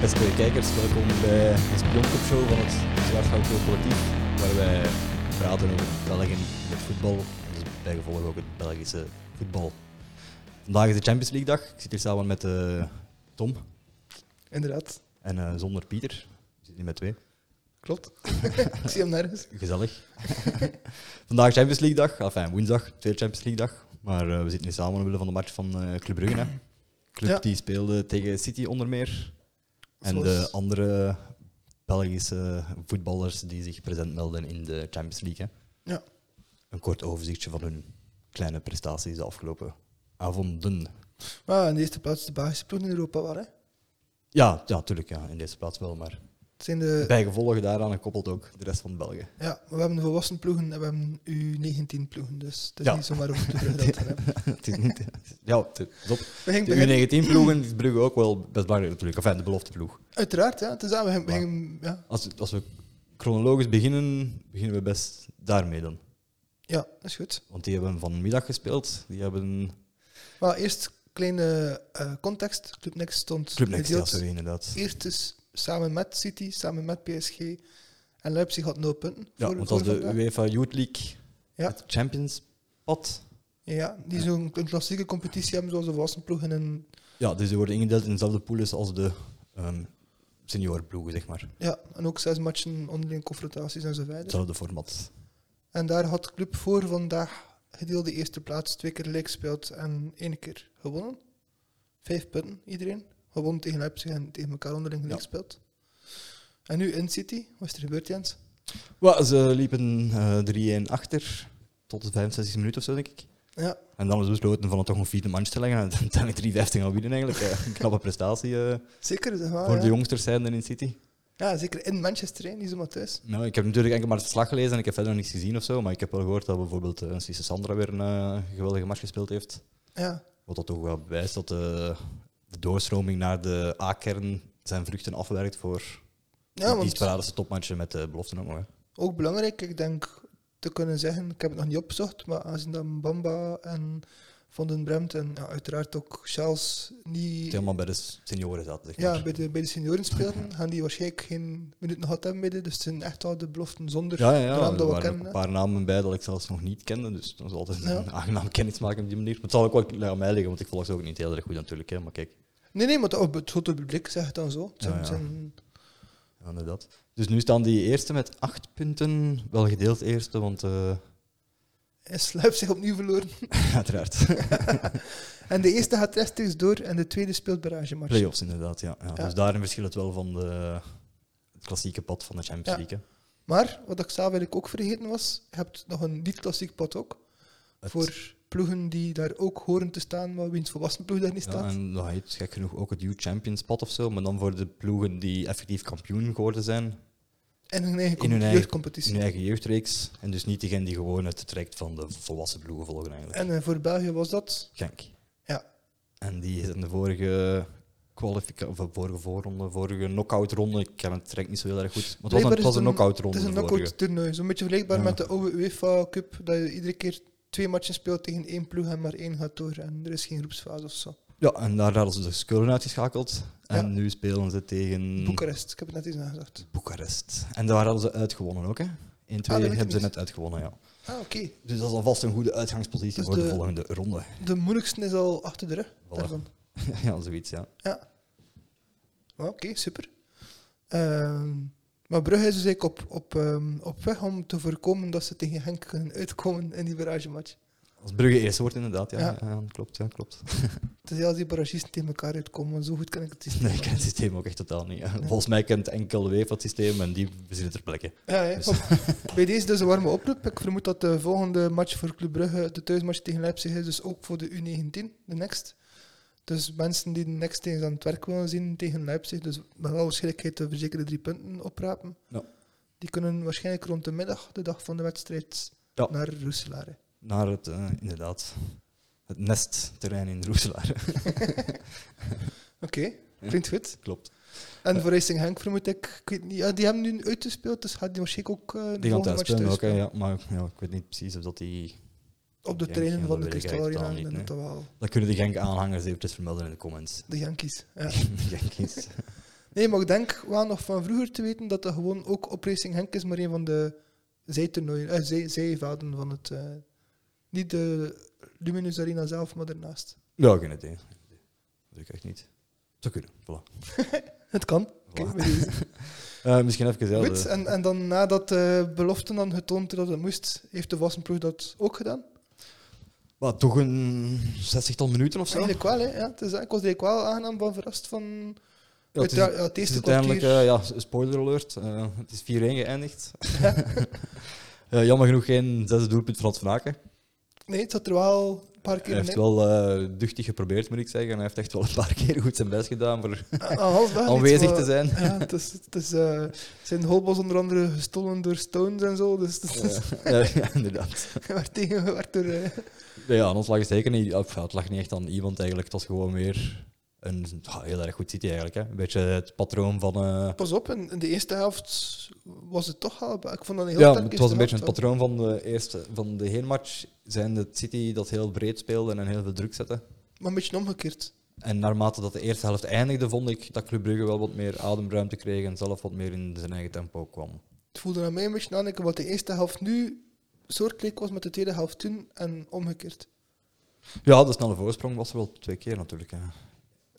Beste kijkers, welkom bij de Spionkop Show van het Zwarthout Collectief, waar wij praten over België met voetbal, en dus bijgevolg ook het Belgische voetbal. Vandaag is de Champions League dag, ik zit hier samen met eh, Tom Inderdaad, en eh, zonder Pieter, ik zit hier met twee, klopt. ik zie hem nergens. gezellig. Vandaag Champions League dag, enfin woensdag, tweede Champions League dag, maar eh, we zitten hier samen omwille van de match van eh, Club Brugge. Hè. Club Ja. die speelde tegen City onder meer. En Zoals- de andere Belgische voetballers die zich present melden in de Champions League. hè. Ja. Een kort overzichtje van hun kleine prestaties de afgelopen avonden. Maar in de eerste plaats de Belgische ploeg in Europa waren. hè. Ja, ja tuurlijk, ja, in deze plaats wel. Maar Het zijn de, bijgevolg daaraan gekoppeld ook de rest van België. ja, we hebben de volwassen ploegen en we hebben U19 ploegen. Dus het is Ja. niet zomaar om te doen dat we het is niet, ja, het is op. gingen beginnen, De U19-ploegen is Brugge ook wel best belangrijk natuurlijk. Enfin, de belofte ploeg. Uiteraard, ja. Het is dat, we gingen- we gingen- ja. Als, als we chronologisch beginnen, beginnen we best daarmee dan. ja, dat is goed. Want die hebben vanmiddag gespeeld. Die hebben Maar eerst kleine eh, context. Club Next stond Club Next, ja, gedeeld. sorry, inderdaad. Eerst is samen met City, samen met PSG. En Leipzig had 0 punten. Ja, voor- want voor als de E- vandaag. UEFA Youth League Ja. het Champions pad. Ja, die zo'n een klassieke competitie hebben zoals de volwassen ploegen in Ja, dus die worden ingedeeld in dezelfde pools als de ehm seniorploegen, zeg maar. Ja, en ook zes matchen onderling confrontaties en zo verder. Hetzelfde format. En daar had de club voor vandaag gedeelde eerste plaats, twee keer gelijk gespeeld en één keer gewonnen. Vijf punten iedereen. Gewonnen tegen Leipzig en tegen elkaar onderling gelijk Ja. gespeeld. En nu in City, wat is er gebeurd Jens? Wel, ze liepen eh 3-1 achter, tot de 65 minuten of zo, denk ik. Ja, En dan is besloten van het toch een vierde manch te leggen. En uiteindelijk 3-15 gaan winnen eigenlijk. Eh, Een knappe prestatie eh, zeker. Zeg maar, voor Ah, ja. de jongsters zijn er in City. ja, zeker in Manchester, hè, niet zomaar thuis. Nou, ik heb natuurlijk enkel maar het slag gelezen en ik heb verder niks gezien of zo. Maar ik heb wel gehoord dat bijvoorbeeld eh Cisse Sandra weer een eh, geweldige match gespeeld heeft. Ja, Wat dat toch wel bewijst dat de, de doorstroming naar de A-kern zijn vruchten afwerkt voor ja die want sporadische topmatchen met de beloften ook nog. hè. ook belangrijk, ik denk te kunnen zeggen, ik heb het nog niet opgezocht, maar aangezien dat Bamba en Van den Bremt en ja, uiteraard ook Charles Die niet helemaal bij de s- senioren zaten. Zeg maar. Ja, bij de, bij de senioren spelen gaan die waarschijnlijk geen minuut nog gehad hebben midden. Dus het zijn echt al de beloften zonder. ja, ja, ja, de naam dat er we waren ook kennen, een hè. paar namen bij dat ik zelfs nog niet kende. Dus dat is altijd Ja. een aangenaam kennismaken op die manier. Maar het zal ook wel aan mij liggen, want ik volg ze ook niet heel erg goed natuurlijk. Hè. Maar kijk, Nee, nee, maar dat- op het grote publiek zeg het dan zo. Het zijn, Ja, ja. zijn- ja, inderdaad. Dus nu staan die eerste met acht punten. Wel gedeeld eerste, want eh, is Leipzig opnieuw verloren. uiteraard. En de eerste gaat rechtstreeks door en de tweede speelt barragematch. Playoffs inderdaad, ja. ja. Ja. Dus daarin verschilt het wel van de, het klassieke pad van de Champions Ja. League. hè. Maar wat ik zelf eigenlijk ook vergeten was, je hebt nog een niet-klassiek pot ook. Het- Voor ploegen die daar ook horen te staan, maar wiens volwassen ploeg daar niet Ja, staat. en dat heet gek genoeg ook het Youth Champions pad of zo, maar dan voor de ploegen die effectief kampioen geworden zijn En hun eigen in hun comp- eigen- jeugdcompetitie. in hun eigen jeugdreeks. En dus niet degene die gewoon het trekt van de volwassen ploegen volgen eigenlijk. En eh, voor België was dat. Genk. Ja. En die is in de vorige kwalifica- of de vorige voorronde, vorige knock-out ronde, ik ken het trek niet zo heel erg goed, maar het was een, Blijkbaar het is was een een- knock-out Het ronde. is een de vorige. knock-out toernooi. Zo'n beetje vergelijkbaar Ja. met de oude UEFA Cup, dat je iedere keer twee matchen speelt tegen één ploeg en maar één gaat door en er is geen groepsfase of zo. Ja, en daar hadden ze dus Keulen uitgeschakeld. En Ja. nu spelen ze tegen Boekarest, ik heb het net eens aangezegd. Boekarest. En daar hadden ze uitgewonnen ook, hè? 1-2 weet hebben ik ze Ah, niet. net uitgewonnen, ja. Ah, oké. Dus dat is alvast een goede uitgangspositie Dus voor de de- volgende ronde. De moeilijkste is al achter de rug. Voilà. Daarvan. ja, zoiets, ja. Ah, oké, super. Ehm, maar Brugge is dus eigenlijk op, op, ehm, op weg om te voorkomen dat ze tegen Henk kunnen uitkomen in die barragematch. Als Brugge eerste wordt, inderdaad. Ja, ja. Ja. ja, klopt, ja, klopt. Het is als die barragisten tegen elkaar uitkomen, want zo goed kan ik het niet. Nee, ik ken het systeem ook echt totaal niet. hè. Volgens mij kent enkel Weef dat systeem en die bezit ter plekke. Ja, hè. Dus- Op- bij deze dus een warme oproep. Ik vermoed dat de volgende match voor Club Brugge, de thuismatch tegen Leipzig, is dus ook voor de U19, de next. Dus mensen die de next eens aan het werk willen zien tegen Leipzig, dus met alle waarschijnlijkheid de verzekerde drie punten oprapen, Ja. die kunnen waarschijnlijk rond de middag, de dag van de wedstrijd, Ja. naar Roeselaar. hè. Naar het, eh, inderdaad, het nestterrein in Roeselaar. Oké, klinkt goed. klopt. En voor Racing Henk vermoed ik, ik weet niet, ja, die hebben nu uitgespeeld, dus gaat die waarschijnlijk ook eh, de Die gaan volgende thuis match spelen thuis ook, hè, ja. Maar ja, ik weet niet precies of dat die... Op de Ja, trainen dat van de weet ik Kristal eigenlijk Arena, ik totaal denk niet, dat wel. Dat kunnen de Genk-aanhangers eventjes vermelden in de comments. De Yankees, ja. Genk is... Nee, maar ik denk wel nog van vroeger te weten dat dat gewoon ook op Racing Henk is, maar een van de zijtoernooien, eh, zij, zijvelden van het... eh, niet de Luminous Arena zelf, maar daarnaast. Ja, geen idee. Dat weet ik echt niet. Zou kunnen, voilà. Het kan. Kijk, Voilà. bij deze. Eh, misschien even zelf. Goed, en, en dan nadat de belofte dan getoond dat het moest, heeft de Wassenploeg dat ook gedaan? Wat, toch een 60 minuten of zo? Eigenlijk wel, hè. Ja, het is, ik was eigenlijk wel aangenaam van verrast van... Ja, het is, ja, het het is eerste uiteindelijk, kwartier. eh, ja, spoiler alert, eh, het is 4-1 geëindigd. Eh, jammer genoeg geen zesde doelpunt van het Van Aken. Nee, het zat er wel een paar Hij keer heeft in. wel eh, duchtig geprobeerd, moet ik zeggen. Hij heeft echt wel een paar keer goed zijn best gedaan voor Ah, ah, halfweg niet, aanwezig maar- te zijn. Ja, het is, het is, eh, zijn holbos onder andere gestolen door Stones en zo, dus het is- Ja, ja, inderdaad. hij werd tegengewerkt door... eh, Ja, aan ons lag het zeker niet. of, ja, het lag niet echt aan iemand eigenlijk. Het was gewoon weer een ja, heel erg goed city eigenlijk. Hè. Een beetje het patroon van. eh, Pas op, in, in de eerste helft was het toch al... Ik vond dat een heel ja, sterke het was een beetje eerste het patroon helft, van de eerste van de heenmatch. Zijn de City dat heel breed speelde en heel veel druk zette. Maar een beetje omgekeerd. En naarmate dat de eerste helft eindigde, vond ik dat Club Brugge wel wat meer ademruimte kreeg en zelf wat meer in zijn eigen tempo kwam. Het voelde aan mij een beetje aan, ik, wat de eerste helft nu soortgelijk was met de tweede helft toen en omgekeerd. Ja, de snelle voorsprong was er wel twee keer natuurlijk. Hè.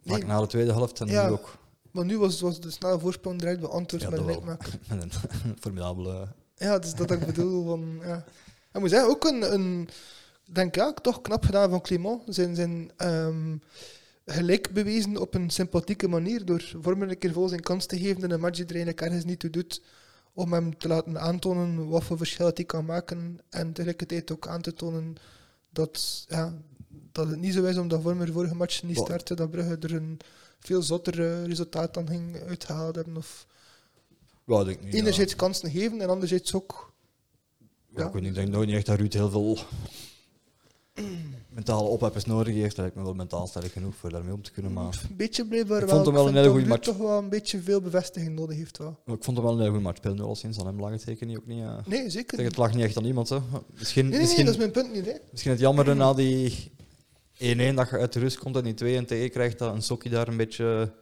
Vaak Nee. na de tweede helft en Ja. nu ook. Maar nu was, was de snelle voorsprong direct beantwoord Ja, met een dat wel. gelijkmaker. Met een formidabele. Ja, dat is dat ik bedoel. Van, ja. Ik moet zeggen, ook een, een denk ja, toch knap gedaan van Clément. Zijn, zijn ehm, gelijk bewezen op een sympathieke manier door Vormer een keer vol zijn kans te geven in een match die er eigenlijk ergens niet toe doet. Om hem te laten aantonen wat voor verschil dat hij kan maken. En tegelijkertijd ook aan te tonen dat, ja, dat het niet zo is omdat Vormer vorige match niet Wow. startte. Dat Brugge er een veel zotter eh, resultaat dan ging uitgehaald hebben. Of Ja, denk ik niet. ja. enerzijds kansen geven en anderzijds ook Ja, ik, weet niet, ik denk nooit niet echt dat Ruud heel veel mentale opheppers nodig heeft. Hij lijkt me wel mentaal sterk genoeg voor daarmee om te kunnen. Maar Een beetje blijkbaar Ik wel. vond hem wel Ik een hele vind goede dat Ruud toch wel een beetje veel bevestiging nodig heeft wel. maar ik vond hem wel een heel goede match. Speel nu al sinds aan hem lag het zeker niet. Ook niet eh. Ik Nee, zeker zeg, niet. het lag niet echt aan iemand. Hè. Misschien, Nee, nee, nee, misschien, dat is mijn punt niet. Hè. misschien het jammer na die 1-1 dat je uit de rust komt en die 2 en TE krijgt, dat een sokkie daar een beetje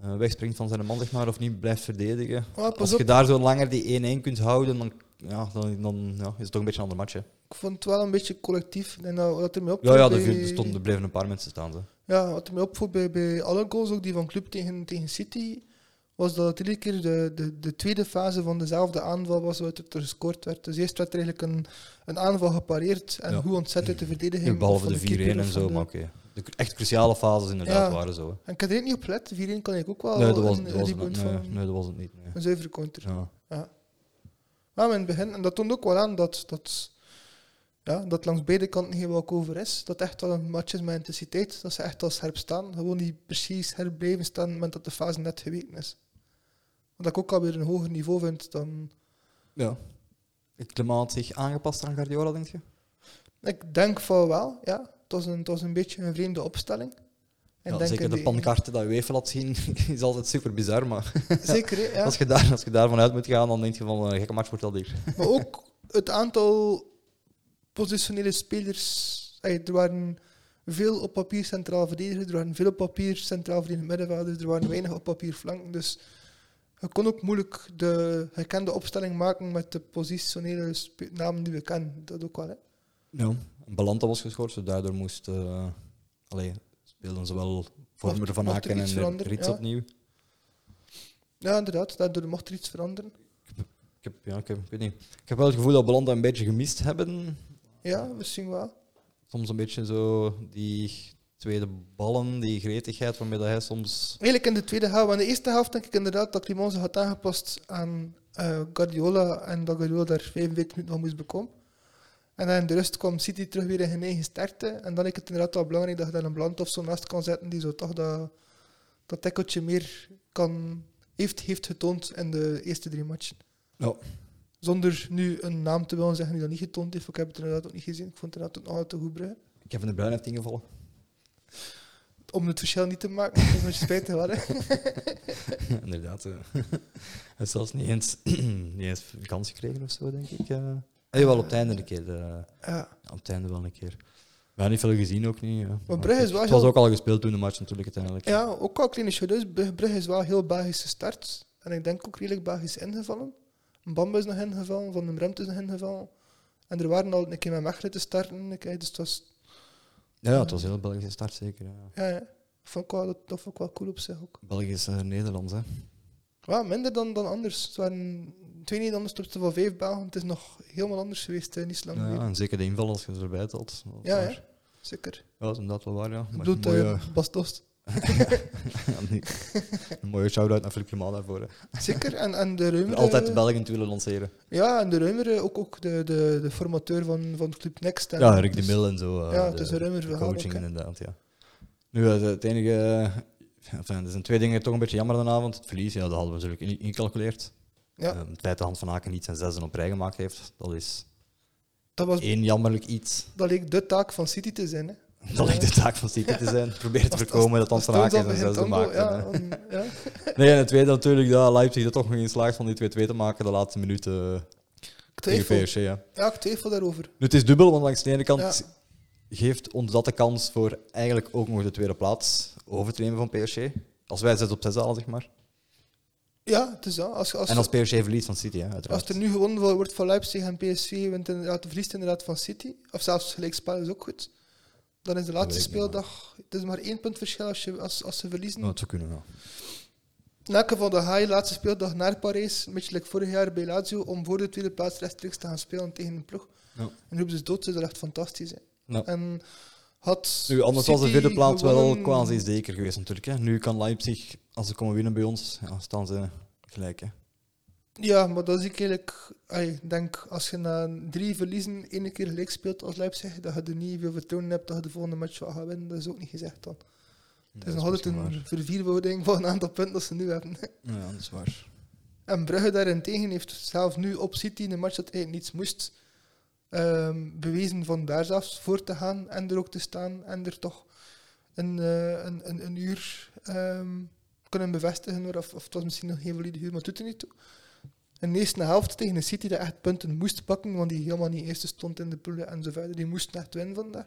eh, wegspringt van zijn man, zeg maar, of niet blijft verdedigen. Maar Als pas op, je daar zo langer die 1-1 kunt houden, dan, ja, dan, dan ja, is het toch een beetje een ander match. hè. ik vond het wel een beetje collectief. En dat, wat er mij opviel Ja, ja er, bij- viel- er stonden, er bleven een paar mensen staan. Hè. ja, wat er mij opviel bij, bij alle goals, ook die van Club tegen, tegen City, was dat het iedere keer de, de, de tweede fase van dezelfde aanval was waaruit het er gescoord werd. Dus eerst werd er eigenlijk een, een aanval gepareerd en Ja. hoe ontzet uit de verdediging. Nu, behalve van de keeper 4-1 en of van zo, de- maar oké. De cru- echt cruciale fases inderdaad Ja. waren zo. hè. En ik had er ook niet op gelet, 4-1 kan ik ook wel Nee, dat was, een, dat een was, het, rebound nee, van nee, dat was het niet. nee. een zuivere counter. Ja. Ja, maar in het begin, en dat toont ook wel aan dat, dat, ja, dat langs beide kanten geen welk over is. Dat echt wel een match is met intensiteit. Dat ze echt al scherp staan. Gewoon niet precies scherp blijven staan op het moment dat de fase net geweken is. Wat ik ook alweer een hoger niveau vind dan... Ja. Het klimaat zich aangepast aan Guardiola, denk je? Ik denk van wel, ja. Het was een, het was een beetje een vreemde opstelling. En Ja, denk zeker in de pankaarten dat UEFA laat zien, is altijd super bizar. Maar Zeker, hè, ja. als, je daar, als je daarvan uit moet gaan, dan denk je van eh, een gekke match wordt dat hier. Maar ook het aantal positionele spelers. Ey, Er waren veel op papier centraal verdedigers, er waren veel op papier centraal verdedigende middenvelders, er waren weinig op papier flanken. Dus je kon ook moeilijk de gekende opstelling maken met de positionele spe- namen die we kennen. Dat ook wel, hè. Ja. Balanta was gescoord, dus daardoor moest... eh allee, speelden ze wel Vormer Mocht- van mocht er Aken iets en veranderen, Rits ja. opnieuw. Ja, inderdaad, daardoor mocht er iets veranderen. Ik heb, ja, ik, heb, ik, weet niet. ik heb wel het gevoel dat Balanta een beetje gemist hebben. Ja, misschien wel. soms een beetje zo die tweede ballen, die gretigheid waarmee dat hij soms. Eigenlijk in de tweede helft. Want in de eerste helft denk ik inderdaad dat Climon zich had aangepast aan eh, Guardiola en dat Guardiola daar 45 minuten van moest bekomen. En dan in de rust kwam City terug weer in hun eigen sterkte. En dan is het inderdaad wel belangrijk dat je dan een bland of zo naast kan zetten die zo toch dat, dat tikkeltje meer kan, heeft, heeft getoond in de eerste drie matchen. Ja. Zonder nu een naam te willen zeggen die dat niet getoond heeft. want Ik heb het inderdaad ook niet gezien. Ik vond het inderdaad ook nog altijd goed bruggen. Kevin de Bruin heeft ingevallen. Om het verschil niet te maken, dat is een beetje spijtig wel. hè. Inderdaad. eh. Hij heeft zelfs niet eens, niet eens een Ah, kans gekregen of zo, denk ik. eh. Hey, wel op het einde een keer. eh. Ja. Ja, op het einde wel een keer. Ja, niet veel gezien ook niet. Ja. Maar Brugge is wel Het was heel- ook al gespeeld toen de match natuurlijk uiteindelijk. Ja, ook al kleine chaleurs. Brugge Brugge is wel heel Belgisch gestart. En ik denk ook redelijk Belgisch ingevallen. Bamba is nog ingevallen, Van den Bremt is nog ingevallen. En er waren al een keer met Mechelen te starten. een keer, Dus het was... ja, het was een heel Belgische start zeker. Ja. Ja, ja. Vond ik wel, dat vond ik wel cool op zich ook. België is eh, Nederlands, hè? Ja, minder dan, dan anders. Het waren twee Nederlanders ten opzichte van vijf Belgen. Het is nog helemaal anders geweest, eh, niet zo lang Ja, geleden. en zeker de inval als je ze erbij telt. Dat is Ja, waar. ja. Zeker. Ja, dat is inderdaad wel waar, ja. Maar Ik bedoel, een mooie, eh, Bas Dost. ja, nee. een mooie shout-out naar Philippe Clement daarvoor. hè. Zeker. En, en de ruimere... Altijd België te willen lanceren. Ja, en de ruimere. Ook, ook de, de, de formateur van, van Club Next. En Ja, Rick de dus- Mil en zo. eh, Ja, het de, is een ruimer de verhaal coaching ook, hè. inderdaad, ja. Nu, eh, het enige... eh, Enfin, er zijn twee dingen toch een beetje jammer vanavond. Het verlies, ja, dat hadden we natuurlijk in- ingecalculeerd. Ja. Eh, het feit dat Hans van Aken niet zijn zesde op rij gemaakt heeft, dat is Dat, was, één jammerlijk iets. dat leek de taak van City te zijn. Hè. Dat lijkt de taak van City te zijn. Probeer te Als- als- voorkomen dat Hans Als van Toon Aken dat zijn begint zesde dan maakt. wel, ja, En, eh, dan- ja. Nee, en het tweede natuurlijk dat Leipzig er toch nog in slaagt van die 2-2 te maken de laatste minuut eh, Ik tegen twijfel. PSG. Ja. Ja, ik twijfel daarover. Nu, het is dubbel, want langs de ene kant Ja. geeft ons dat de kans voor eigenlijk ook nog de tweede plaats over te nemen van PSG. Als wij 6 op 6 halen, zeg maar. Ja, het is dat. Als, als, en als PSG verliest van City, hè, uiteraard. Als er nu gewonnen wo- wordt van Leipzig en PSV, wint inderdaad, verliest inderdaad van City, of zelfs gelijkspel is ook goed, dan is de laatste weet ik niet, speeldag, het is maar één punt verschil als, je, als, als ze verliezen. Nou, dat zou kunnen, ja. In elk geval, dan ga je laatste speeldag naar Parijs, een beetje like vorig jaar bij Lazio, om voor de tweede plaats rechtstreeks te gaan spelen tegen een ploeg. Ja. En roepen ze dood, ze dat echt fantastisch. Hè. Ja. En had Nu, anders was de City vierde plaats wel gewonnen- quasi zeker geweest, natuurlijk. Hè. Nu kan Leipzig, als ze komen winnen bij ons, ja, staan ze gelijk. Hè. Ja, maar dat is ik eigenlijk. ai, Ik denk als je na drie verliezen één keer gelijk speelt als Leipzig, dat je er niet veel vertrouwen in hebt dat je de volgende match wel gaat winnen. Dat is ook niet gezegd dan. Het is nog altijd misschien een verviervoudiging van een aantal punten dat ze nu hebben. waar. Ja, dat is waar. En Brugge daarentegen heeft zelf nu op City in een match dat eigenlijk niets moest ehm, bewezen van daar zelfs voor te gaan en er ook te staan en er toch een, eh, een, een, een uur ehm, kunnen bevestigen. hoor. Of, of het was misschien nog geen valide uur, maar het doet er niet toe. Een eerste helft tegen een City dat echt punten moest pakken, want die helemaal niet eerste stond in de poelen en zo verder. Die moest echt winnen vandaag.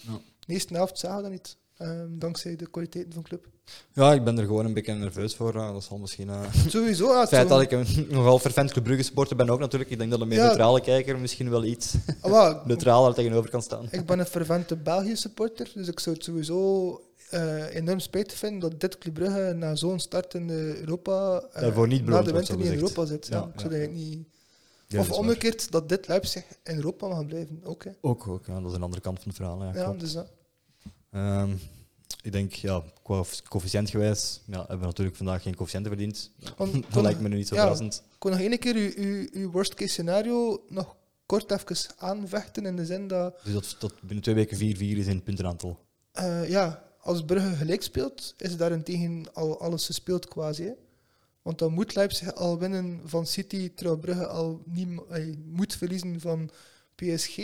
Ja. De eerste helft zagen we dat niet, ehm, dankzij de kwaliteiten van de club. Ja, ik ben er gewoon een beetje nerveus voor. eh, dat zal misschien... eh, Sowieso, ja, het Het feit zou- dat ik een nogal fervent Club Brugge supporter ben ook natuurlijk. Ik denk dat een meer Ja. neutrale kijker misschien wel iets Ah, wel, neutraler tegenover kan staan. Ik ben een fervente België supporter, dus ik zou het sowieso eh, enorm spijtig vinden dat dit Club Brugge na zo'n start in de Europa eh, Daarvoor niet na de beloond wordt, winter zo niet in gezegd. Europa zit. Ja, Ja, ik zou ja, dat eigenlijk niet. of omgekeerd dat dit Leipzig in Europa mag blijven. Ook, hè. Ook, ook ja, dat is een andere kant van het verhaal. Ja, Ja, klopt. dus, ja. Ehm, ik denk, ja, qua coëfficiëntgewijs ja, hebben we natuurlijk vandaag geen coëfficiënten verdiend. Want- Dat lijkt me nu niet zo Hm. ja, verrassend. Ik kon nog één keer uw, uw, uw worst case scenario nog kort even aanvechten in de zin dat Dus dat, dat binnen twee weken 4-4 is in het puntenaantal. Eh, ja, als Brugge gelijk speelt, is daarentegen al alles gespeeld quasi. hè. Want dan moet Leipzig al winnen van City, terwijl Brugge al niet, m- eh, moet verliezen van PSG.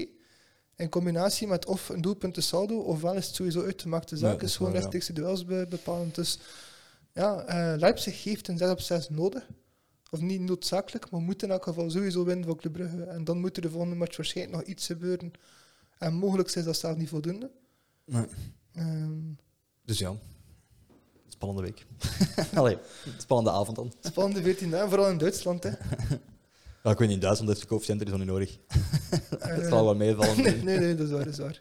In combinatie met of een doelpunt te saldo, ofwel is het sowieso uitgemaakte zaak. dat is is gewoon waar, ja. rechtstreeks de duels be- bepalend. Dus ja, eh, Leipzig heeft een 6 op 6 nodig. Of niet noodzakelijk, maar moet in elk geval sowieso winnen van Club Brugge. En dan moet er de volgende match waarschijnlijk nog iets gebeuren. En mogelijk is dat zelf niet voldoende. Ehm, Dus ja, spannende week. Allee, spannende avond dan. Spannende 14 dagen, vooral in Duitsland. Hè. Ja, ik weet niet, in Duitsland heeft de coëfficiënt er zo niet nodig. dat Eh, zal wel meevallen. nee, nee, nee, dat is waar. Dat is waar.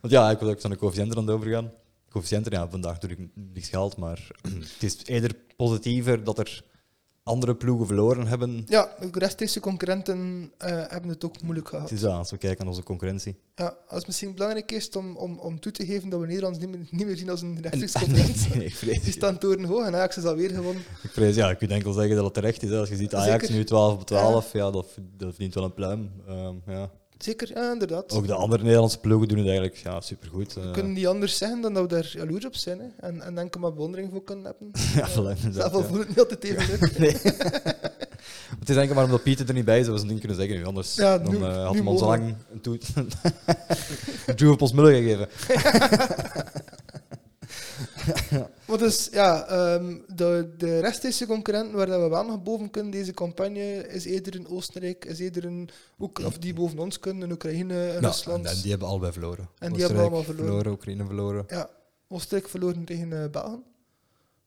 Want ja, ik wil ook van de coëfficiënten aan het overgaan. Coëfficiënten, ja, vandaag natuurlijk niks gehaald, maar het is eerder positiever dat er andere ploegen verloren hebben. Ja, de rechtstreekse concurrenten eh, hebben het ook moeilijk Het gehad. is ja, als we kijken naar onze concurrentie. Ja, als het misschien belangrijk is om, om, om toe te geven dat we Nederlands niet meer, niet meer zien als een En- rechtstreeks concurrent. nee, ik Die vrees, staan torenhoog en Ajax is alweer gewonnen. ik vrees, ja, ik kan enkel zeggen dat het terecht is. hè. Als je ziet Ajax Zeker. nu 12 op 12, ja, dat, v- dat verdient wel een pluim. Ehm, ja. Zeker, ja, inderdaad. Ook de andere Nederlandse ploegen doen het eigenlijk ja, supergoed. eh. We kunnen niet anders zeggen dan dat we daar jaloers op zijn. Hè. En, en denken maar bewondering voor kunnen hebben. ja, voilà, inderdaad, Zelf al ja. voelt het niet altijd even leuk. Nee. het is enkel maar omdat Pieter er niet bij is, dat we zo'n ding kunnen zeggen. Anders Ja, dan, nu- eh, had nu hem ons al mogen we. lang een toet. een duw op ons mullen gegeven. Want dus ja, ehm, de, de rechtstreekse concurrenten waar dat we wel nog boven kunnen deze campagne is eerder in Oostenrijk, is eerder in Oek, of die boven ons kunnen, in Oekraïne, in Nou, en, Rusland. en die hebben allebei verloren. hebben Oostenrijk allemaal verloren. Oekraïne verloren. Ja, Oostenrijk verloren tegen eh, Belgen.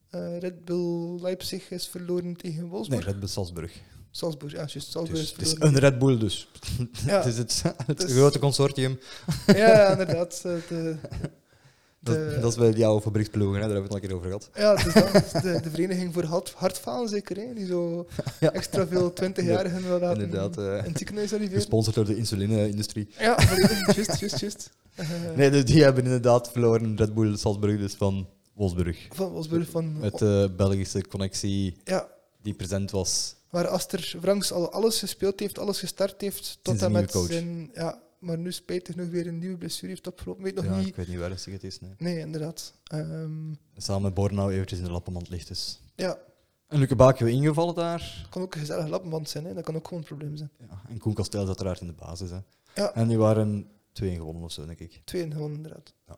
Eh, Red Bull Leipzig is verloren tegen Nee, Wolfsburg. Red Bull Salzburg. Salzburg, ja, juist. Salzburg Dus, is het is verloren. een Red Bull dus. Ja. het is het, het Dus- grote consortium. Ja, ja, inderdaad. eh, De, de, Dat, dat is bij die oude fabrieksploegen, hè, daar hebben we het al een keer over gehad. ja, het is dat. Het is de, de vereniging voor hart, hartfalen zeker, hè, die zo Ja. extra veel 20-jarigen wil laten Inderdaad, eh, in het ziekenhuis arriveren. Gesponsord door de insuline-industrie. Ja, volledig. juist, juist, juist. Eh, Nee, dus die hebben inderdaad verloren. Red Bull Salzburg dus van Wolfsburg. Van Wolfsburg van... Met de Belgische connectie ja, die present was. waar Aster Franks al alles gespeeld heeft, alles gestart heeft, tot Sinds en een met nieuwe coach. zijn... Ja, maar nu spijtig nog weer een nieuwe blessure heeft opgelopen. Weet nog ja, niet... ik weet niet waar het is. Nee. Nee, inderdaad. Ehm, Samen met Bornau eventjes in de lappenmand ligt dus. ja, En Luke Baakje weer ingevallen daar. het kan ook een gezellig lappenband zijn, hè. dat kan ook gewoon een probleem zijn. Ja, en Koen Kastel zat uiteraard in de basis. Hè. Ja. En die waren twee gewonnen of zo, denk ik. Tweeën gewonnen, inderdaad. Ja.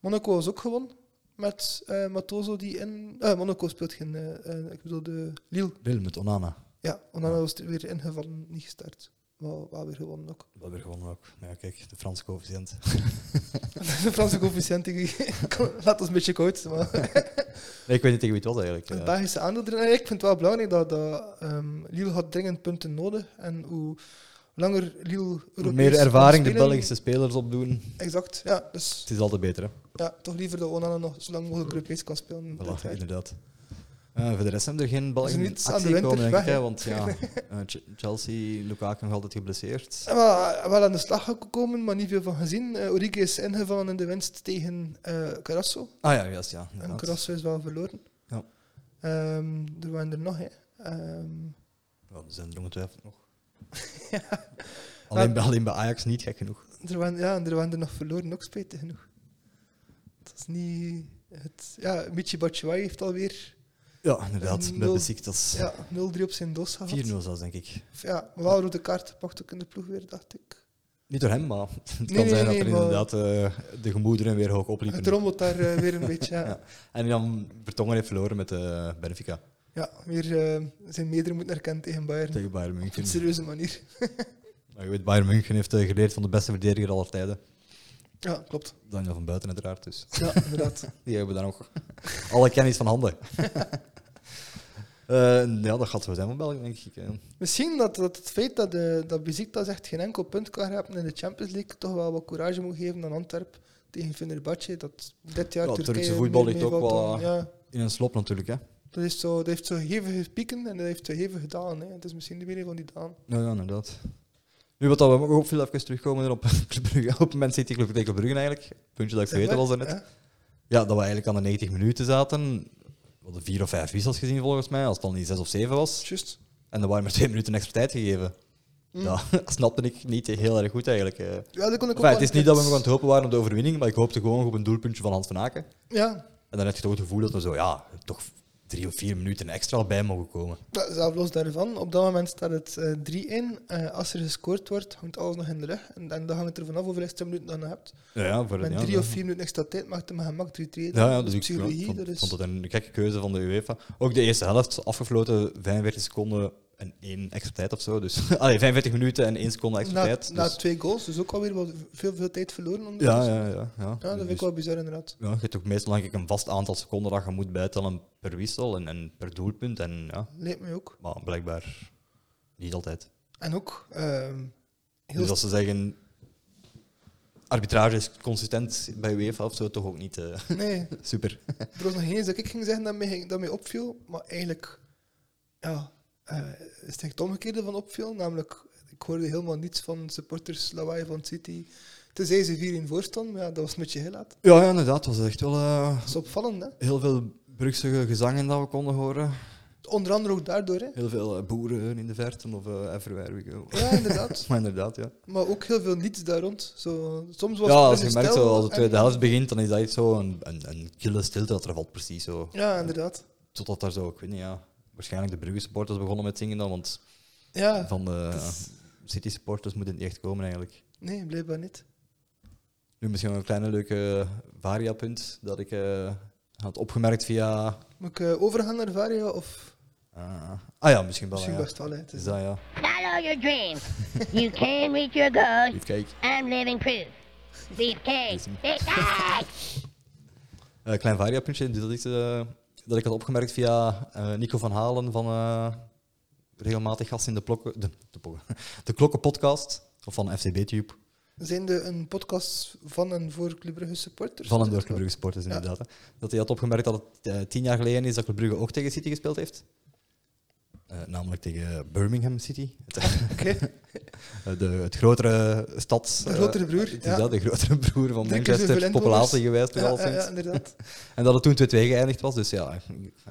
Monaco was ook gewonnen. Met eh Matoso die in. eh, Monaco speelt geen. eh, eh, ik bedoel, de Lille. Lille met Onana. Ja, Onana Ja. was weer ingevallen, niet gestart. Maar wel weer gewonnen ook. Dat weer gewonnen ook. Nou ja, kijk, de Franse coëfficiënt. De Franse coëfficiënt, ik- ik- laat ons een beetje koud. Maar Nee, ik weet niet tegen wie het was eigenlijk. het Ja. Belgische aandeel erin. En Ik vind het wel belangrijk dat, dat ehm, Lille had dringend punten nodig. En hoe langer Lille. Hoe Europees meer kan ervaring de spelen- Belgische spelers opdoen, Exact, ja. Dus het is altijd beter. Hè. ja, toch liever dat Onana nog zo lang mogelijk Europees kan spelen. Voilà, dit jaar. inderdaad. Eh, voor de rest hebben er geen Belgen in niets aan actie de winter gekomen, denk ik. weg, hè, hè? Want ja, eh, Ch- Chelsea, Lukaku nog altijd geblesseerd. Ja, Wel, wel aan de slag gekomen, maar niet veel van gezien. Eh Origi is ingevallen in de winst tegen eh Carrasso. Ah ja, juist, ja. En inderdaad. Carrasso is wel verloren. Ja. Ehm, er waren er nog, hè. Ehm, Ja, er zijn er ongetwijfeld nog. alleen, bij, alleen bij Ajax niet, gek genoeg. er waren, ja, en er waren er nog verloren, ook spijtig genoeg. Dat is niet... Het, ja, Michi Batshuayi heeft alweer Ja, inderdaad. Een Met nul. Besiktas. ja, 0-3 op zijn dos gehad. 4-0 zelfs, denk ik. Ja, maar wel rode kaart gepakt ook in de ploeg weer, dacht ik. Niet door hem, maar het kan nee, zijn dat nee, er maar- inderdaad eh, de gemoederen weer hoog opliepen. Het rommelt daar eh, weer een beetje, ja. Ja. En dan Vertongen heeft verloren met eh Benfica Ja, weer eh, zijn meerdere moet herkennen tegen Bayern. tegen Bayern Op een München. serieuze manier. Nou, je weet, Bayern München heeft eh, geleerd van de beste verdediger aller tijden. Ja, klopt. Daniel van Buiten uiteraard, dus Ja, inderdaad. die hebben daar nog alle kennis van handen. Eh, ja, dat gaat zo zijn van België, denk ik. eh. Misschien dat, dat het feit dat, eh dat Besiktas echt geen enkel punt kan hebben in de Champions League toch wel wat courage moet geven aan Antwerp tegen Fenerbahce. Dat dit jaar Ja, Turkije Turkse voetbal meer ligt ook meevalt wel- dan- Ja, In een slop natuurlijk, hè. dat, is zo, dat heeft zo hevige pieken en dat heeft zo hevige dalen. Hè. Het is misschien de mening van die dalen. Ja, ja, inderdaad. Nu wat dat we ook opviel, even terugkomen op Club Brugge, op Man City Club tegen Brugge eigenlijk. Puntje dat ik vergeten was daarnet. Ja, Ja, dat we eigenlijk aan de 90 minuten zaten. We hadden vier of vijf wissels gezien volgens mij, als het dan niet zes of zeven was. juist. En dan waren maar twee minuten extra tijd gegeven. Mm. Ja, dat snapte ik niet heel erg goed eigenlijk. eh. Ja, dat kon ik ook Enfin, het wel is een niet dat we keer- nog aan het hopen waren op de overwinning, maar ik hoopte gewoon op een doelpuntje van Hans van Aken. Ja, En dan had je toch het gevoel dat we zo, ja, toch drie of vier minuten extra bij mogen komen. Ja, Zelf los daarvan, op dat moment staat het eh, 3 in. Eh, als er gescoord wordt, hangt alles nog in de lucht. En, en dan hangt het er vanaf hoeveel extra minuten dan je hebt. Ja, ja, voor, Met ja, drie dat- of vier minuten extra tijd maakt het met gemak 3-3. Ja, ja Dat dus is ik psychologie, vond, dat is... vond het een gekke keuze van de UEFA. Ook de eerste helft, afgefloten 45 seconden en één extra tijd of zo. Dus, allee, 45 minuten en één seconde extra na, tijd. na Dus, twee goals, dus ook alweer wat, veel, veel tijd verloren. ondertussen. ja, ja, ja, ja. Ja, dat vind ik Dus- wel bizar inderdaad. ja, je hebt ook meestal denk ik, een vast aantal seconden dat je moet bijtellen per wissel en, en per doelpunt. En, ja, Leek mij ook. maar blijkbaar niet altijd. En ook, ehm, heel Dus als ze zeggen, arbitrage is consistent bij UEFA of zo, toch ook niet eh, st- Nee, super. er was nog geen eens dat ik ging zeggen dat mij, ging- dat mij opviel, maar eigenlijk ja, eh, is het echt het omgekeerde van opviel. Namelijk, ik hoorde helemaal niets van supporters lawaai van City. Tenzij ze 4 in voorstand, maar ja, dat was een beetje heel laat. Ja, ja inderdaad. Het was echt wel eh, Dat is opvallend, hè? heel veel Brugse gezangen dat we konden horen. Onder andere ook daardoor, hè? Heel veel eh, boeren in de verte of eh, everywhere we go. Ja, inderdaad. maar inderdaad, ja. Maar ook heel veel niets daar rond. Zo, soms was Ja, het als je minder merkt, stil zo, als de en- tweede helft begint, dan is dat echt zo een, een, een kille stilte dat er valt, precies zo. Ja, inderdaad. Totdat daar zo, ik weet niet, ja, waarschijnlijk de Brugge supporters begonnen met zingen dan, want Ja, van de het is- City supporters moet het niet echt komen eigenlijk. nee, blijkbaar niet. Nu misschien wel een kleine leuke variapunt dat ik eh, Had opgemerkt via. Moet ik eh, overgaan naar Varia of eh, ah ja, misschien wel. misschien ja. best wel? hè. Het is- Is dat ja? Follow your dreams. you can reach your goals. Beefcake. I'm living proof. Beefcake. Beefcake. Eh, klein variapuntje dat ik, eh, dat ik had opgemerkt via eh, Nico van Halen van eh, regelmatig gast in de, plokken, de, de, plokken- de Klokkenpodcast of van FCB-tube. Zijn er een podcast van en voor Club Brugge supporters? Van een door Club Brugge supporters inderdaad. hè. Dat hij had opgemerkt dat het eh, tien jaar geleden is dat Club Brugge ook tegen City gespeeld heeft. Eh, namelijk tegen Birmingham City. Het, Oké, eh, de, het grotere stads... De grotere broer, eh, het is ja. dat, de grotere broer van Drie keer zoveel Manchester. Populatie gewijs toch ja, al ja, sinds. ja, inderdaad. En dat het toen 2-2 geëindigd was. Dus ja,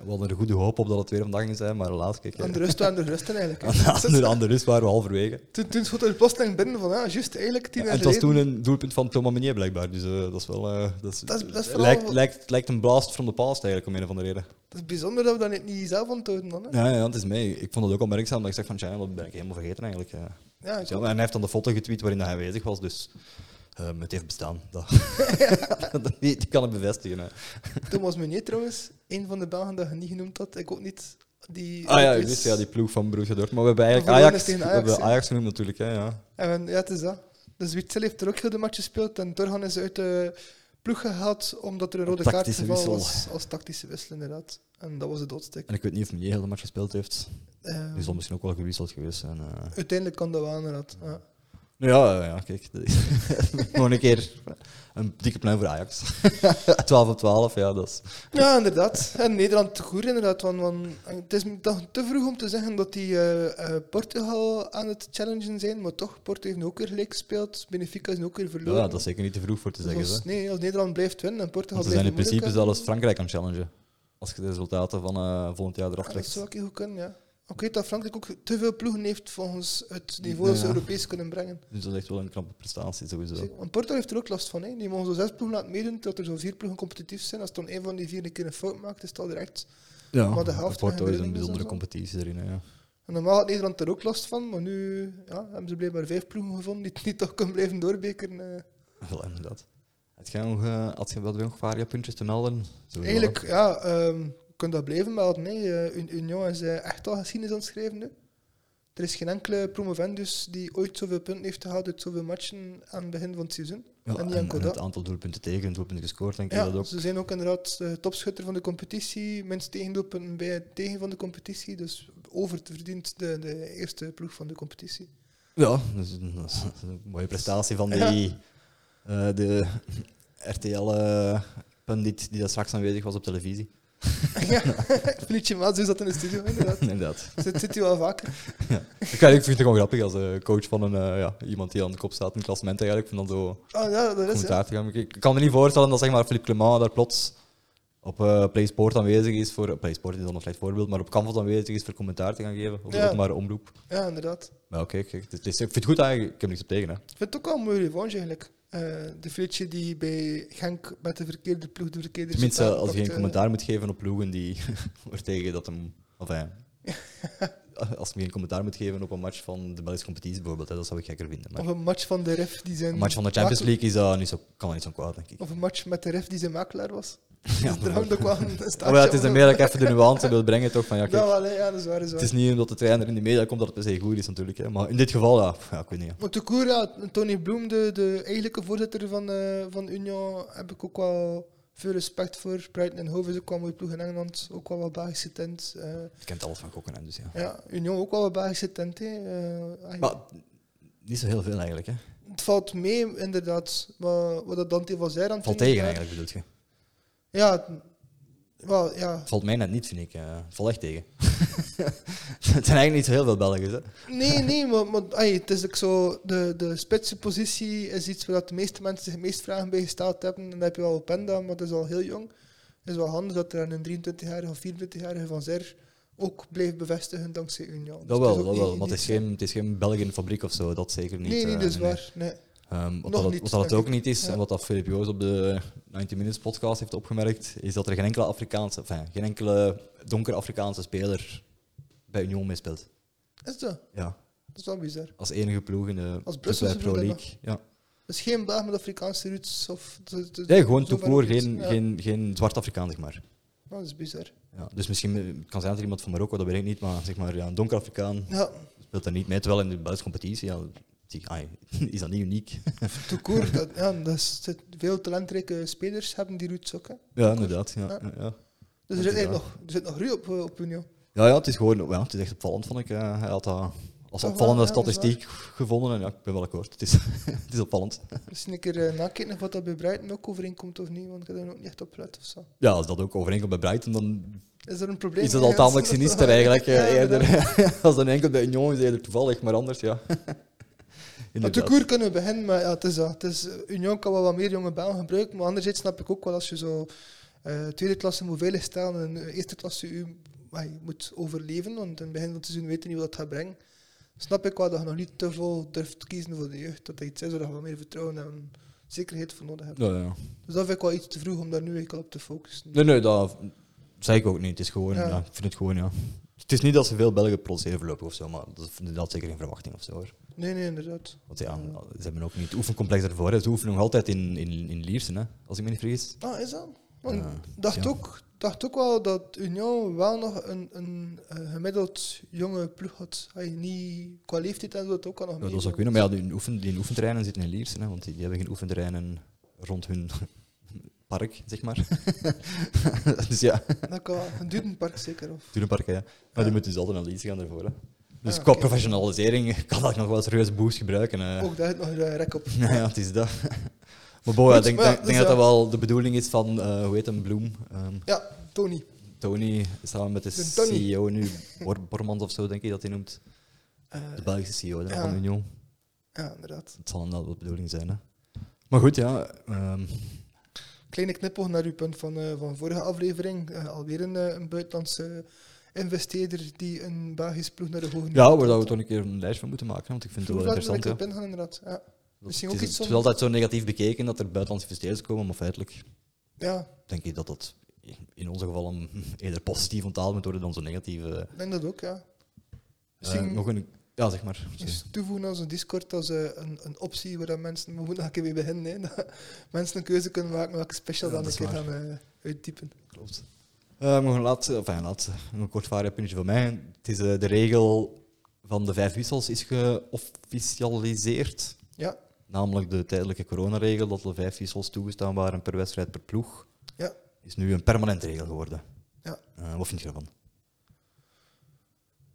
we hadden er goede hoop op dat het weer vandaag ging zijn. Maar helaas, kijk... eh, Aan de rust waren de rusten eigenlijk. hè. Aan de- aan de andere rust waren we halverwege. Toen, toen schoot er plotseling binnen van, ja, juist eigenlijk tien En jaar het was geleden. toen een doelpunt van Thomas Meunier blijkbaar. Dus eh, dat is wel... eh, dat is, Dat is- dat is eh, vooral- lijkt, lijkt, lijkt een blast from the past eigenlijk, om een of andere reden. Het is bijzonder dat we dat niet- niet zelf onthouden dan. Hè? Ja, ja, het is mee. Ik vond het ook al merkzaam dat ik zeg van, tja, dat ben ik helemaal vergeten eigenlijk. eh. Ja, ik Ja, en hij heeft dan de foto getweet waarin hij aanwezig was, dus ehm, het heeft bestaan. Dat, dat, die, die kan het bevestigen. hè. Thomas Meunier trouwens, een van de Belgen dat je niet genoemd had, ik ook niet. Die Ah ja, ooit je wist, ja, die ploeg van Borussia Dortmund. Maar we hebben eigenlijk verloren Ajax, is tegen we hebben Ajax, hè. Ajax genoemd natuurlijk. Hè, ja. En, ja, het is dat. Dus Witzel heeft er ook heel de match gespeeld en Torgan is uit de ploeg gehaald omdat er een rode kaart Tactische gevallen wissel. was als tactische wissel inderdaad. En dat was de doodsteek. En ik weet niet of Meunier heel de match gespeeld heeft. Eh, Die zal misschien ook wel gewisseld geweest zijn. eh. uiteindelijk kan dat wel inderdaad. Ja. Nou Ja, ja, ja, kijk. Dat is gewoon een keer een dikke pluim voor Ajax. 12 op 12, ja, dat is... Ja, inderdaad. En Nederland te goed, inderdaad. Want, want het is toch te vroeg om te zeggen dat die eh, eh, Portugal aan het challengen zijn. Maar toch, Porto heeft nu ook weer gelijk gespeeld. Benfica is nu ook weer verloren. Ja, dat is zeker niet te vroeg voor te Dus zeggen. als- hè. nee, als Nederland blijft winnen en Portugal Want ze blijft zijn in het principe moeilijk zelfs hebben, Frankrijk aan het challengen. Als je de resultaten van eh, volgend jaar eraf ja, Ah, Dat trekt. zou ik heel goed kunnen, ja. Ik weet dat Frankrijk ook te veel ploegen heeft volgens het niveau dat ze Ja. Europees kunnen brengen. Dus dat is echt wel een knappe prestatie, sowieso. Zeker. Want Porto heeft er ook last van. Hè. Die mogen zo zes ploegen laten meedoen, tot er zo vier ploegen competitief zijn. Als dan een van die vier een keer een fout maakt, is het al direct. Ja, Maar de helft Porto is van de een winnaars en bijzondere zo. competitie erin. hè, Ja. En normaal had Nederland er ook last van, maar nu ja, hebben ze blijkbaar vijf ploegen gevonden die het niet toch kunnen blijven doorbekeren. eh. Wel, inderdaad. Had jij nog, eh, had je wel nog variapuntjes te melden? Sowieso, hè. Eigenlijk, ja, ehm, je kunt dat blijven melden. Nee, Union is eh, echt al geschiedenis aan het schrijven nu. Er is geen enkele promovendus die ooit zoveel punten heeft gehaald uit zoveel matchen aan het begin van het seizoen. Ja, en en, niet aan en Coda. het aantal doelpunten tegen, doelpunten gescoord, denk ik Ja, dat ook. ze zijn ook inderdaad eh, topschutter van de competitie, minst tegendoelpunten bij het tegen van de competitie, dus over te verdient de, de eerste ploeg van de competitie. Ja, Dus, dat is een, dat is een mooie prestatie van die eh, de RTL-pundit eh, die daar straks aanwezig was op televisie. ja, Felice Maas zat in de studio, inderdaad. Inderdaad. Zit, zit hij wel vaker. Ik vind het gewoon grappig als eh, coach van een, eh, ja, iemand die aan de kop staat in het klassement eigenlijk, van dan zo Ah ja, dat is het. commentaar te gaan. Ik ik kan me niet voorstellen dat zeg maar, Philippe Clement daar plots op eh PlaySport aanwezig is voor. PlaySport is dan een slecht voorbeeld, maar op Canvas aanwezig is voor commentaar te gaan geven. Of de Ja. openbare omroep. Ja, inderdaad. Maar oké, kijk, het is- ik vind het goed eigenlijk. Ik heb niks op tegen. Hè. Ik vind het ook wel een mooie revanche eigenlijk. Eh, de Felice die bij Genk met de verkeerde ploeg de verkeerde eh, Tenminste, resultaten als je geen pakte. commentaar moet geven op ploegen die er tegen dat hem. Of ja. Als je geen commentaar moet geven op een match van de Belgische competitie bijvoorbeeld, hè, dat zou ik gekker vinden. Maar Of een match van de ref die zijn... een match van de Champions makel- League is, dat niet zo, kan dat niet zo kwaad, denk ik. Of een match met de ref die zijn makelaar was. Ja, Ja, er hangt ook wel een staartje Maar ja, Oh, het is aan. er meer dat ik even de nuance wil brengen, toch? Van, ja, Dat kijk, wel, hè. ja, dat is waar, dat is waar. het is niet omdat de trainer in de media komt dat het per se goed is, natuurlijk. Hè. Maar in dit geval, ja, pff, ja ik weet niet. ja. Want de koer, ja, Tony Bloem, de, de eigenlijke voorzitter van, eh van Union, heb ik ook wel veel respect voor. Brighton en Hove is ook wel een mooie ploeg in Engeland, ook wel wat Belgische tent. eh. Je kent alles van gokken, hè, dus ja. ja, Union ook wel wat Belgische tent. hè. Eh, ah, Maar niet zo heel veel eigenlijk, hè. het valt mee, inderdaad, wat, wat dat Dante van zei. Valt tegen eigenlijk, bedoel je. Ja, het- wel, ja. Het valt mij net niet, vind ik. eh, het valt echt tegen. het zijn eigenlijk niet zo heel veel Belgen, hè. Nee, nee, maar, maar ai, het is ook zo, de, de spitsenpositie is iets waar dat de meeste mensen zich meest vragen bij gesteld hebben. En dan heb je wel Openda, maar dat is al heel jong. Het is wel handig dat er aan een 23-jarige of 24-jarige van Zer ook blijft bevestigen dankzij Union. Dus Dat wel, dat wel. Maar het is, geen, het is geen Belgen fabriek of zo, dat zeker niet. Nee, nee, eh, dat is nee. waar. Nee. Ehm, wat Nog dat, niet, wat dat het denk ook niet is, Ja. en wat dat Filip Joos op de 90 Minutes podcast heeft opgemerkt, is dat er geen enkele Afrikaanse, enfin, geen enkele donkere Afrikaanse speler bij Union meespeelt. Is dat? Ja. Dat is wel bizar. Als enige ploeg in de Als Brusselse Pro ploeg dan League. Ja. Dus geen Belg met Afrikaanse roots of... de- de- Nee, gewoon zover toevoer, roots. geen, Ja. geen, geen zwart Afrikaan, zeg maar. Ja, dat is bizar. Ja, dus misschien eh, kan zijn dat er iemand van Marokko, dat weet ik niet, maar zeg maar ja, een donker Afrikaan Ja, speelt daar niet mee. Terwijl in de buitenlandse competitie ja, zie- ai, is dat niet uniek. toekoor. dat, ja, dat is, dat- veel talentrijke spelers hebben die roots ook. Hè. ja, inderdaad. Ja, Ja. ja. Ja. Dus er zit eigenlijk nog, er zit nog ruw op, eh, op Union. Ja, ja, het is gewoon ja, het is echt opvallend, vond ik. eh, hij had dat als wel, opvallende ja, dat is statistiek gevonden en ja, ik ben wel akkoord. Het is, het is opvallend. Misschien een keer eh, nakijken of wat dat bij Brighton ook overeenkomt of niet, want ik heb er ook niet echt op gelet of zo. Ja, als dat ook overeenkomt bij Brighton, dan Is er een probleem? is dat mee? al tamelijk Is dat- sinister eigenlijk. eh, Ja, eerder, inderdaad. als dan enkel bij Union is eerder toevallig, maar anders ja. Maar Inderdaad. de koer kunnen we beginnen, maar ja, het is dat. Het is, eh, Union kan wel wat meer jonge Belgen gebruiken, maar anderzijds snap ik ook wel als je zo eh, tweede klasse moet veiligstellen en eh, eerste klasse u, maar je moet overleven, want in het begin van het seizoen weten niet wat dat gaat brengen. Snap ik wel dat je nog niet te veel durft te kiezen voor de jeugd, dat dat iets is waar je wat meer vertrouwen en zekerheid voor nodig hebt. Ja, ja. Dus dat vind ik wel iets te vroeg om daar nu eigenlijk al op te focussen. Nee, nee, dat zei ik ook niet. Het is gewoon, Ja. ja. ik vind het gewoon, ja. Het is niet dat ze veel Belgen produceren voorlopig of zo, maar dat is inderdaad zeker geen verwachting of zo hoor. Nee, nee, inderdaad. Want ja, ze hebben ook niet het oefencomplex ervoor. hè. Ze oefenen nog altijd in, in, in Liersen, hè, als ik me niet vergis. Ah, is dat? Want Ja, ik dacht, ja. ook, dacht ook wel dat Union wel nog een, een eh, gemiddeld jonge ploeg had. Hij niet qua leeftijd en zo, dat ook al nog Ja, dat meedoet. zou kunnen, maar ja, die, oefen, die oefenterreinen zitten in Liersen, hè, want die, die hebben geen oefenterreinen rond hun park, zeg maar. dus ja, Dat kan wel een duurdenpark zeker. Of. Turenpark, ja. Maar die moeten dus altijd naar Liersen gaan daarvoor. Hè. Dus Ah, qua oké. Oh. professionalisering kan dat nog wel een serieuze boost gebruiken. hè. Ook daar heb ik nog een rek op. Nou ja, het is dat. Maar Boa, ik denk, maar ja, denk, dus denk dat dat ja. wel de bedoeling is van, eh, hoe heet hem, Bloem. Ehm, Ja, Tony. Tony, samen met de, De Tony. CEO nu, Bor Bormans of zo, denk ik dat hij noemt. Eh, De Belgische CEO hè, ja. van Union. ja, inderdaad. Het zal inderdaad wel de bedoeling zijn. Hè. Maar goed, ja. ehm, Kleine knipoog naar uw punt van, eh, van vorige aflevering. Eh, alweer een, eh, een buitenlandse investeerder die een Belgisch ploeg naar de hoogte ja, waar dat we toch een keer een lijst van moeten maken, want ik vind het wel Vroeger had interessant. ik Ja. op ingaan, inderdaad. Ja. Misschien het ook is, iets het om- is altijd zo negatief bekeken dat er buitenlandse investeerders komen, maar feitelijk ja, denk ik dat dat in onze geval een- eerder positief onthaald moet worden dan zo'n negatieve. eh, ik denk dat ook, ja. Misschien- nog een, ja, zeg maar. Dus toevoegen aan onze Discord als eh, een, een optie waar dat mensen, we moeten nog een keer mee beginnen, hè, dat mensen een keuze kunnen maken welke special Ja, dan dat een keer is gaan eh, uittypen. Klopt. Eh, nog een laatste, enfin, een laatste, nog een kort vaarpuntje van mij. Het is eh, de regel van de vijf wissels is geofficialiseerd. Ja, Namelijk de tijdelijke coronaregel dat er vijf wissels toegestaan waren per wedstrijd per ploeg. Ja. Is nu een permanente regel geworden. Ja. Eh, wat vind je ervan?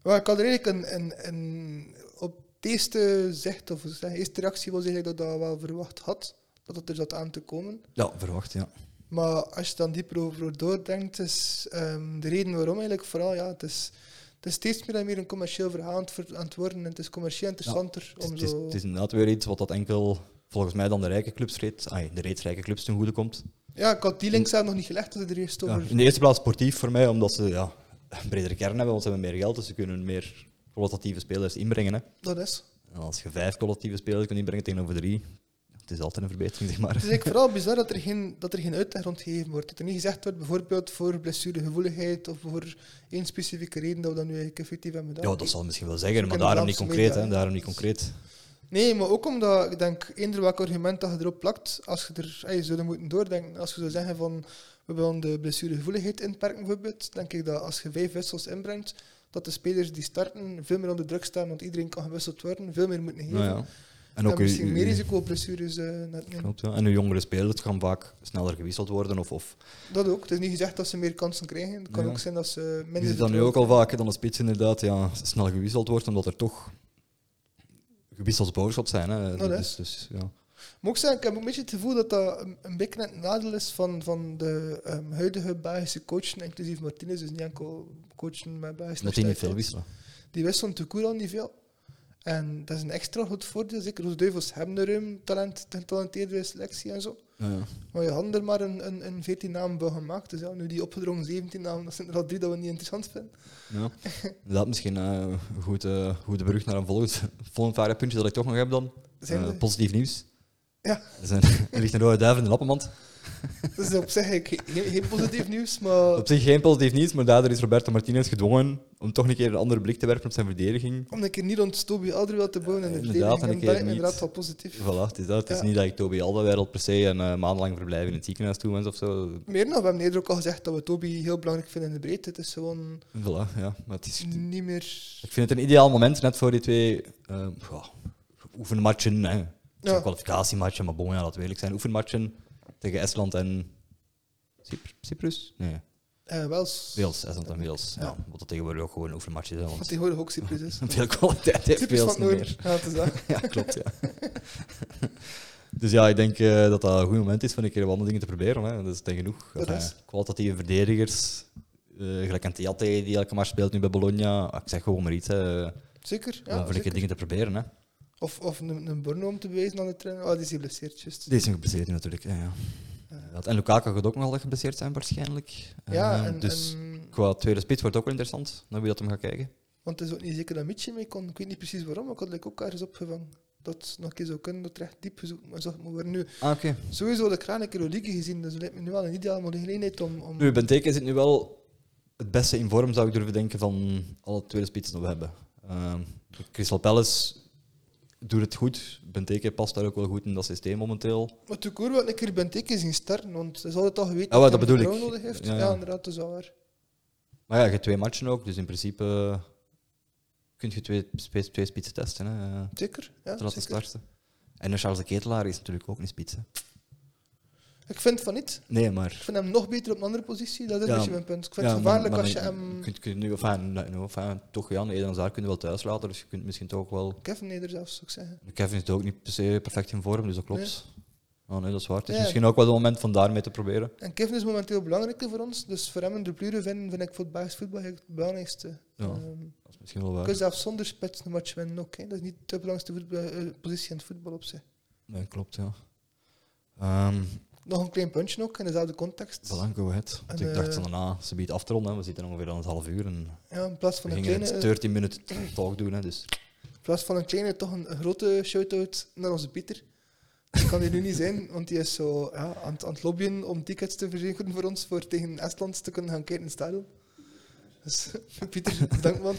maar ik had er eigenlijk een, een, een op het eerste zicht, of zeg, eerste reactie was eigenlijk dat ik dat wel verwacht had, dat het er zat aan te komen. Ja, verwacht, ja. Maar als je dan dieper over doordenkt, is ehm, de reden waarom eigenlijk vooral, ja, het is, het is steeds meer en meer een commercieel verhaal aan het ver- aan het worden en het is commercieel interessanter Het is, om het, is, zo... het is inderdaad weer iets wat dat enkel volgens mij dan de rijke clubs reeds, ai, de reeds rijke clubs ten goede komt. Ja, ik had die links zelf nog niet gelegd als ik er eerst Ja, over... in de eerste plaats sportief voor mij, omdat ze ja, een bredere kern hebben, want ze hebben meer geld, dus ze kunnen meer kwalitatieve spelers inbrengen. Hè. Dat is... En als je vijf kwalitatieve spelers kunt inbrengen tegenover drie, het is altijd een verbetering, zeg maar. Het is eigenlijk vooral bizar dat er geen, dat er geen uitleg rond gegeven wordt. Dat er niet gezegd wordt, bijvoorbeeld voor blessuregevoeligheid of voor één specifieke reden dat we dat nu eigenlijk effectief hebben Ja, gedaan. dat zal misschien wel zeggen, maar Kunnen daarom niet Vlaamse concreet. media, Hè, hè. daarom niet concreet. Nee, maar ook omdat ik denk, eender welk argument dat je erop plakt, als je er ey, je zou er moeten doordenken. Als je zou zeggen van we willen de blessuregevoeligheid inperken, bijvoorbeeld, denk ik dat als je vijf wissels inbrengt, dat de spelers die starten veel meer onder druk staan, want iedereen kan gewisseld worden, veel meer moeten geven. Nou ja. En En ook misschien uw- uw- meer risico op blessures eh, net nemen. Klopt, ja. En uw jongere spelers gaan vaak sneller gewisseld worden. Of, of Dat ook. Het is niet gezegd dat ze meer kansen krijgen. Het kan Ja. ook zijn dat ze je minder. ziet dat nu ook vertrouwen al vaak, hè, dat een spits inderdaad ja, snel gewisseld wordt, omdat er toch gewissels bovenschot zijn. Hè. dat Dus- is. dus, ja. Moet ik zeggen, ik heb ook een beetje het gevoel dat dat een, een beetje net een nadeel is van, van de ehm, huidige Belgische coachen, inclusief Martinez, dus niet enkel coachen met Belgische Dat die niet veel nationaliteit. wisselen. Die wisselen te koer al niet veel. En dat is een extra goed voordeel. Zeker de Duivels hebben een ruim talent, getalenteerde selectie en zo. Ja, ja. Maar je had er maar een, een, een 14 naam van gemaakt. Dus ja, nu die opgedrongen 17 namen, dat zijn er al drie dat we niet interessant vinden. Ja. Dat misschien eh, een goed, eh, goede brug naar een volgend, volgend vaarpuntje dat ik toch nog heb dan. Zijn Eh, we- positief nieuws. Ja. Er, zijn, er ligt een rode duif in de lappenmand. Dus op zich ik, geen, geen positief nieuws, maar Op zich geen positief nieuws, maar daardoor is Roberto Martinez gedwongen om toch een keer een andere blik te werpen op zijn verdediging. om een keer niet rond Toby Alderweireld te bouwen in de Eh, Inderdaad, verdediging, en een keer dan ben ik niet. inderdaad wel positief. Voilà, het is, dat. Het is Ja. niet dat ik Toby Alderweireld per se een eh, maandenlang verblijf in het ziekenhuis toewens of zo. Meer nog, we hebben eerder ook al gezegd dat we Toby heel belangrijk vinden in de breedte. Het is gewoon Voilà, ja. Maar het is, niet meer... ik vind het een ideaal moment, net voor die twee eh, ja, oefenmatchen. Hè. Het zijn Ja. kwalificatiematchen, maar bon, ja, laten we eerlijk zijn. Oefenmatchen tegen Estland en Cyp- Cyprus? Nee, eh Wels. Wales. Estland en Wales. Ja. Ja. Wat dat tegenwoordig ook gewoon oefenmatchen zijn, Want want die horen ook Cyprus is. veel kwaliteit heeft Cyprus van Wales het niet meer. Noorden. Ja, het is dat. Ja, klopt. Ja. dus ja, ik denk eh, dat dat een goed moment is om een keer wat andere dingen te proberen. Hè. Dat is dan genoeg. Dat Enfin, is. kwalitatieve verdedigers. eh gelijk aan Theate, die elke maar speelt nu bij Bologna. Ah, Ik zeg gewoon maar iets. Hè. Zeker. om Ja, voor een keer zeker. dingen te proberen. Hè. Of, of een, een Borno om te bewijzen aan de trainer. Oh, die is geblesseerd, juist. Deze zijn geblesseerd nu natuurlijk. Ja, ja. Inderdaad. Eh, En Lukaku gaat ook nog altijd geblesseerd zijn waarschijnlijk. Ja, Eh, en, dus en- qua tweede spits wordt ook wel interessant. Naar wie dat hem gaat kijken. want het is ook niet zeker dat Michi mee kon. Ik weet niet precies waarom, maar ik had like, ook ergens opgevangen. Dat het nog een keer zou kunnen, dat het recht diep gezocht maar zag maar weer nu. Ah, oké. Sowieso de kraan een keer door Ligue gezien, dus lijkt me nu wel een ideaal maar de gelegenheid om... om Nu, Benteke zit nu wel het beste in vorm, zou ik durven denken, van alle tweede spitsen die we hebben. Ehm, Crystal Palace doet het goed. Benteke past daar ook wel goed in dat systeem momenteel. Maar toen hoor wat een keer Benteke zien starten, want ze hadden toch weten Ah, wel, dat hij bedoel ik. vertrouwen nodig heeft. Ja, Ja, ja. inderdaad, dat is wel waar. Maar ja, je hebt twee matchen ook, dus in principe eh, kun je twee, spe- twee spitsen testen. Hè, eh, Zeker, ja, te laten zeker. starten. En een Charles de Ketelaar is natuurlijk ook een spits. hè. Ik vind van niet. Nee, Ik maar... vind hem nog beter op een andere positie, dat is Ja. een beetje mijn punt. Ik vind ja, het maar- gevaarlijk maar als je dan- hem... Kun, kun je nu, enfin, nou, nou, enfin, toch, Jan, Eden Zaar kun je wel thuis laten, dus je kunt misschien toch wel... Kevin Neder zelfs, zou ik zeggen. Kevin is ook niet per se perfect in vorm, dus dat klopt. Oh nee, dat is waar. Het is Ja. misschien ook wel het moment van daarmee te proberen. En Kevin is momenteel belangrijker voor ons, dus voor hem een dublure vinden vind ik voor het Belgisch voetbal eigenlijk het belangrijkste. Ja. Ehm, Dat is misschien wel Je kunt waar. zelfs zonder spits een match winnen ook. Hè. Dat is niet de belangrijkste voetbal- eh, positie in het voetbal op zich. Nee, klopt, ja. Ehm Nog een klein puntje ook, in dezelfde context. voilà, go ahead. Want En, ik dacht eh, van daarna, ze biedt af te ronden. hè. We zitten ongeveer aan het half uur en Ja, in plaats we van een gingen kleine, eh, het 13 minuten talk doen. Hè, dus. in plaats van een kleine toch een grote shout-out naar onze Pieter. Dat kan die nu niet zijn, want die is zo ja, aan, het- aan het lobbyen om tickets te verzekeren voor ons voor tegen Estland te kunnen gaan kijken in het stadion. Dus Pieter, bedankt man.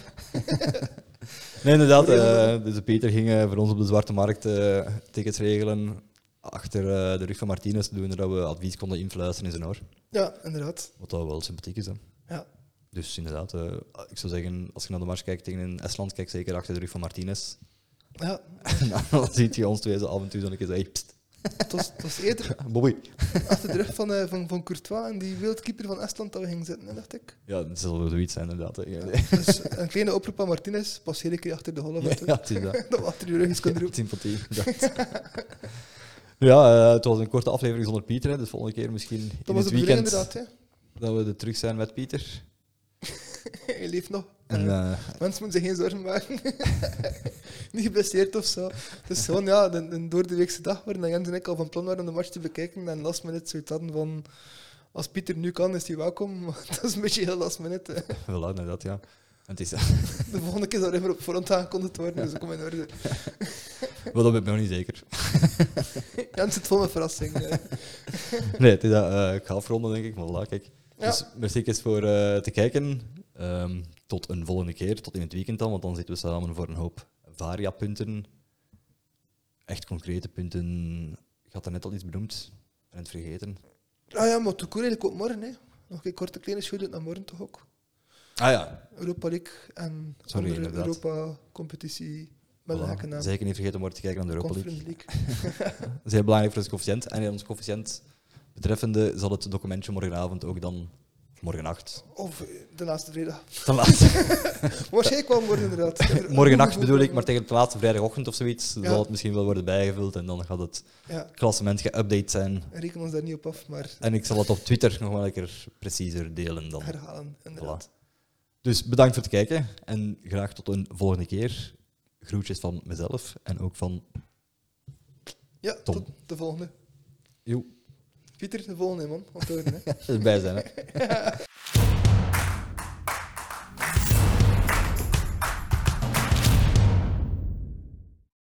Nee, inderdaad. Voor eh, even- dus de Peter ging eh, voor ons op de zwarte markt eh, tickets regelen. Achter eh, de rug van Martinez doen dat we advies konden influisteren in zijn oor. Ja, inderdaad. Wat dat wel sympathiek is. Hè. Ja. Dus inderdaad, eh, ik zou zeggen, als je naar de mars kijkt tegen een Estland, kijk zeker achter de rug van Martinez. Ja, En dan ziet je ons twee zo af en toe zo'n keer zo, hey, pst, het was, het was eerder Bobby. achter de rug van, eh, van, van Courtois en die wereldkeeper van Estland dat we gingen zitten, hè, dacht ik. Ja, dat zal wel zoiets zijn, inderdaad. hè. Ja, Dus een kleine oproep aan Martinez. Pas heel een keer achter de holle ja, met hem. het is dat. Dat we achter je rug eens kunnen Ja, roepen. sympathie. inderdaad. Ja, eh, het was een korte aflevering zonder Pieter. Hè, dus volgende keer misschien in Dat was het de bedoeling weekend inderdaad. Hè. dat we er terug zijn met Pieter. Hij leeft nog. En Eh, eh, Mensen moeten zich geen zorgen maken. Niet geblesseerd of zo. Het is gewoon ja, een, een doordeweekse dag waarin Jens en ik al van plan waren om de match te bekijken. En last minute zoiets hadden van... Als Pieter nu kan, is hij welkom. Maar dat is een beetje heel last minute. hè. voilà, inderdaad, ja. En het is, De volgende keer zou er even op voorhand aangekondigd worden. Dus dat komt in orde. wel, dat ben ik nog niet zeker. Jens zit vol met verrassing. eh. Nee, het is dat, eh, ik ga afronden, denk ik. Maar voilà, kijk. Ja. Dus merci eens voor eh, te kijken. Ehm, tot een volgende keer, tot in het weekend dan, want dan zitten we samen voor een hoop variapunten. Echt concrete punten. Ik had er net al iets benoemd en het vergeten. Ah ja, maar toekomst eigenlijk ook morgen. Hè. Nog een korte kleine shoot naar morgen toch ook. Ah ja, Europa League en Sorry, andere inderdaad. Europa-competitie met een voilà. gekke naam. zeker niet vergeten om maar te kijken naar de Europa League. Conference League. Dat is heel belangrijk voor ons coëfficiënt. En in ons coëfficiënt betreffende zal het documentje morgenavond ook dan, of morgenacht, Of eh, de laatste vrijdag. ten laatste. Waarschijnlijk wel morgen inderdaad. morgenacht bedoel ik, maar tegen de laatste vrijdagochtend of zoiets Ja. zal het misschien wel worden bijgevuld en dan gaat het Ja, klassement geüpdate zijn. reken ons daar niet op af, maar En ik zal het op Twitter nog wel een keer preciezer delen dan. herhalen inderdaad. Dus bedankt voor het kijken en graag tot een volgende keer. Groetjes van mezelf en ook van. Ja, Tom. tot de volgende. Joe, Pieter, de volgende man. Onthouden, hè. erbij zijn. Hè.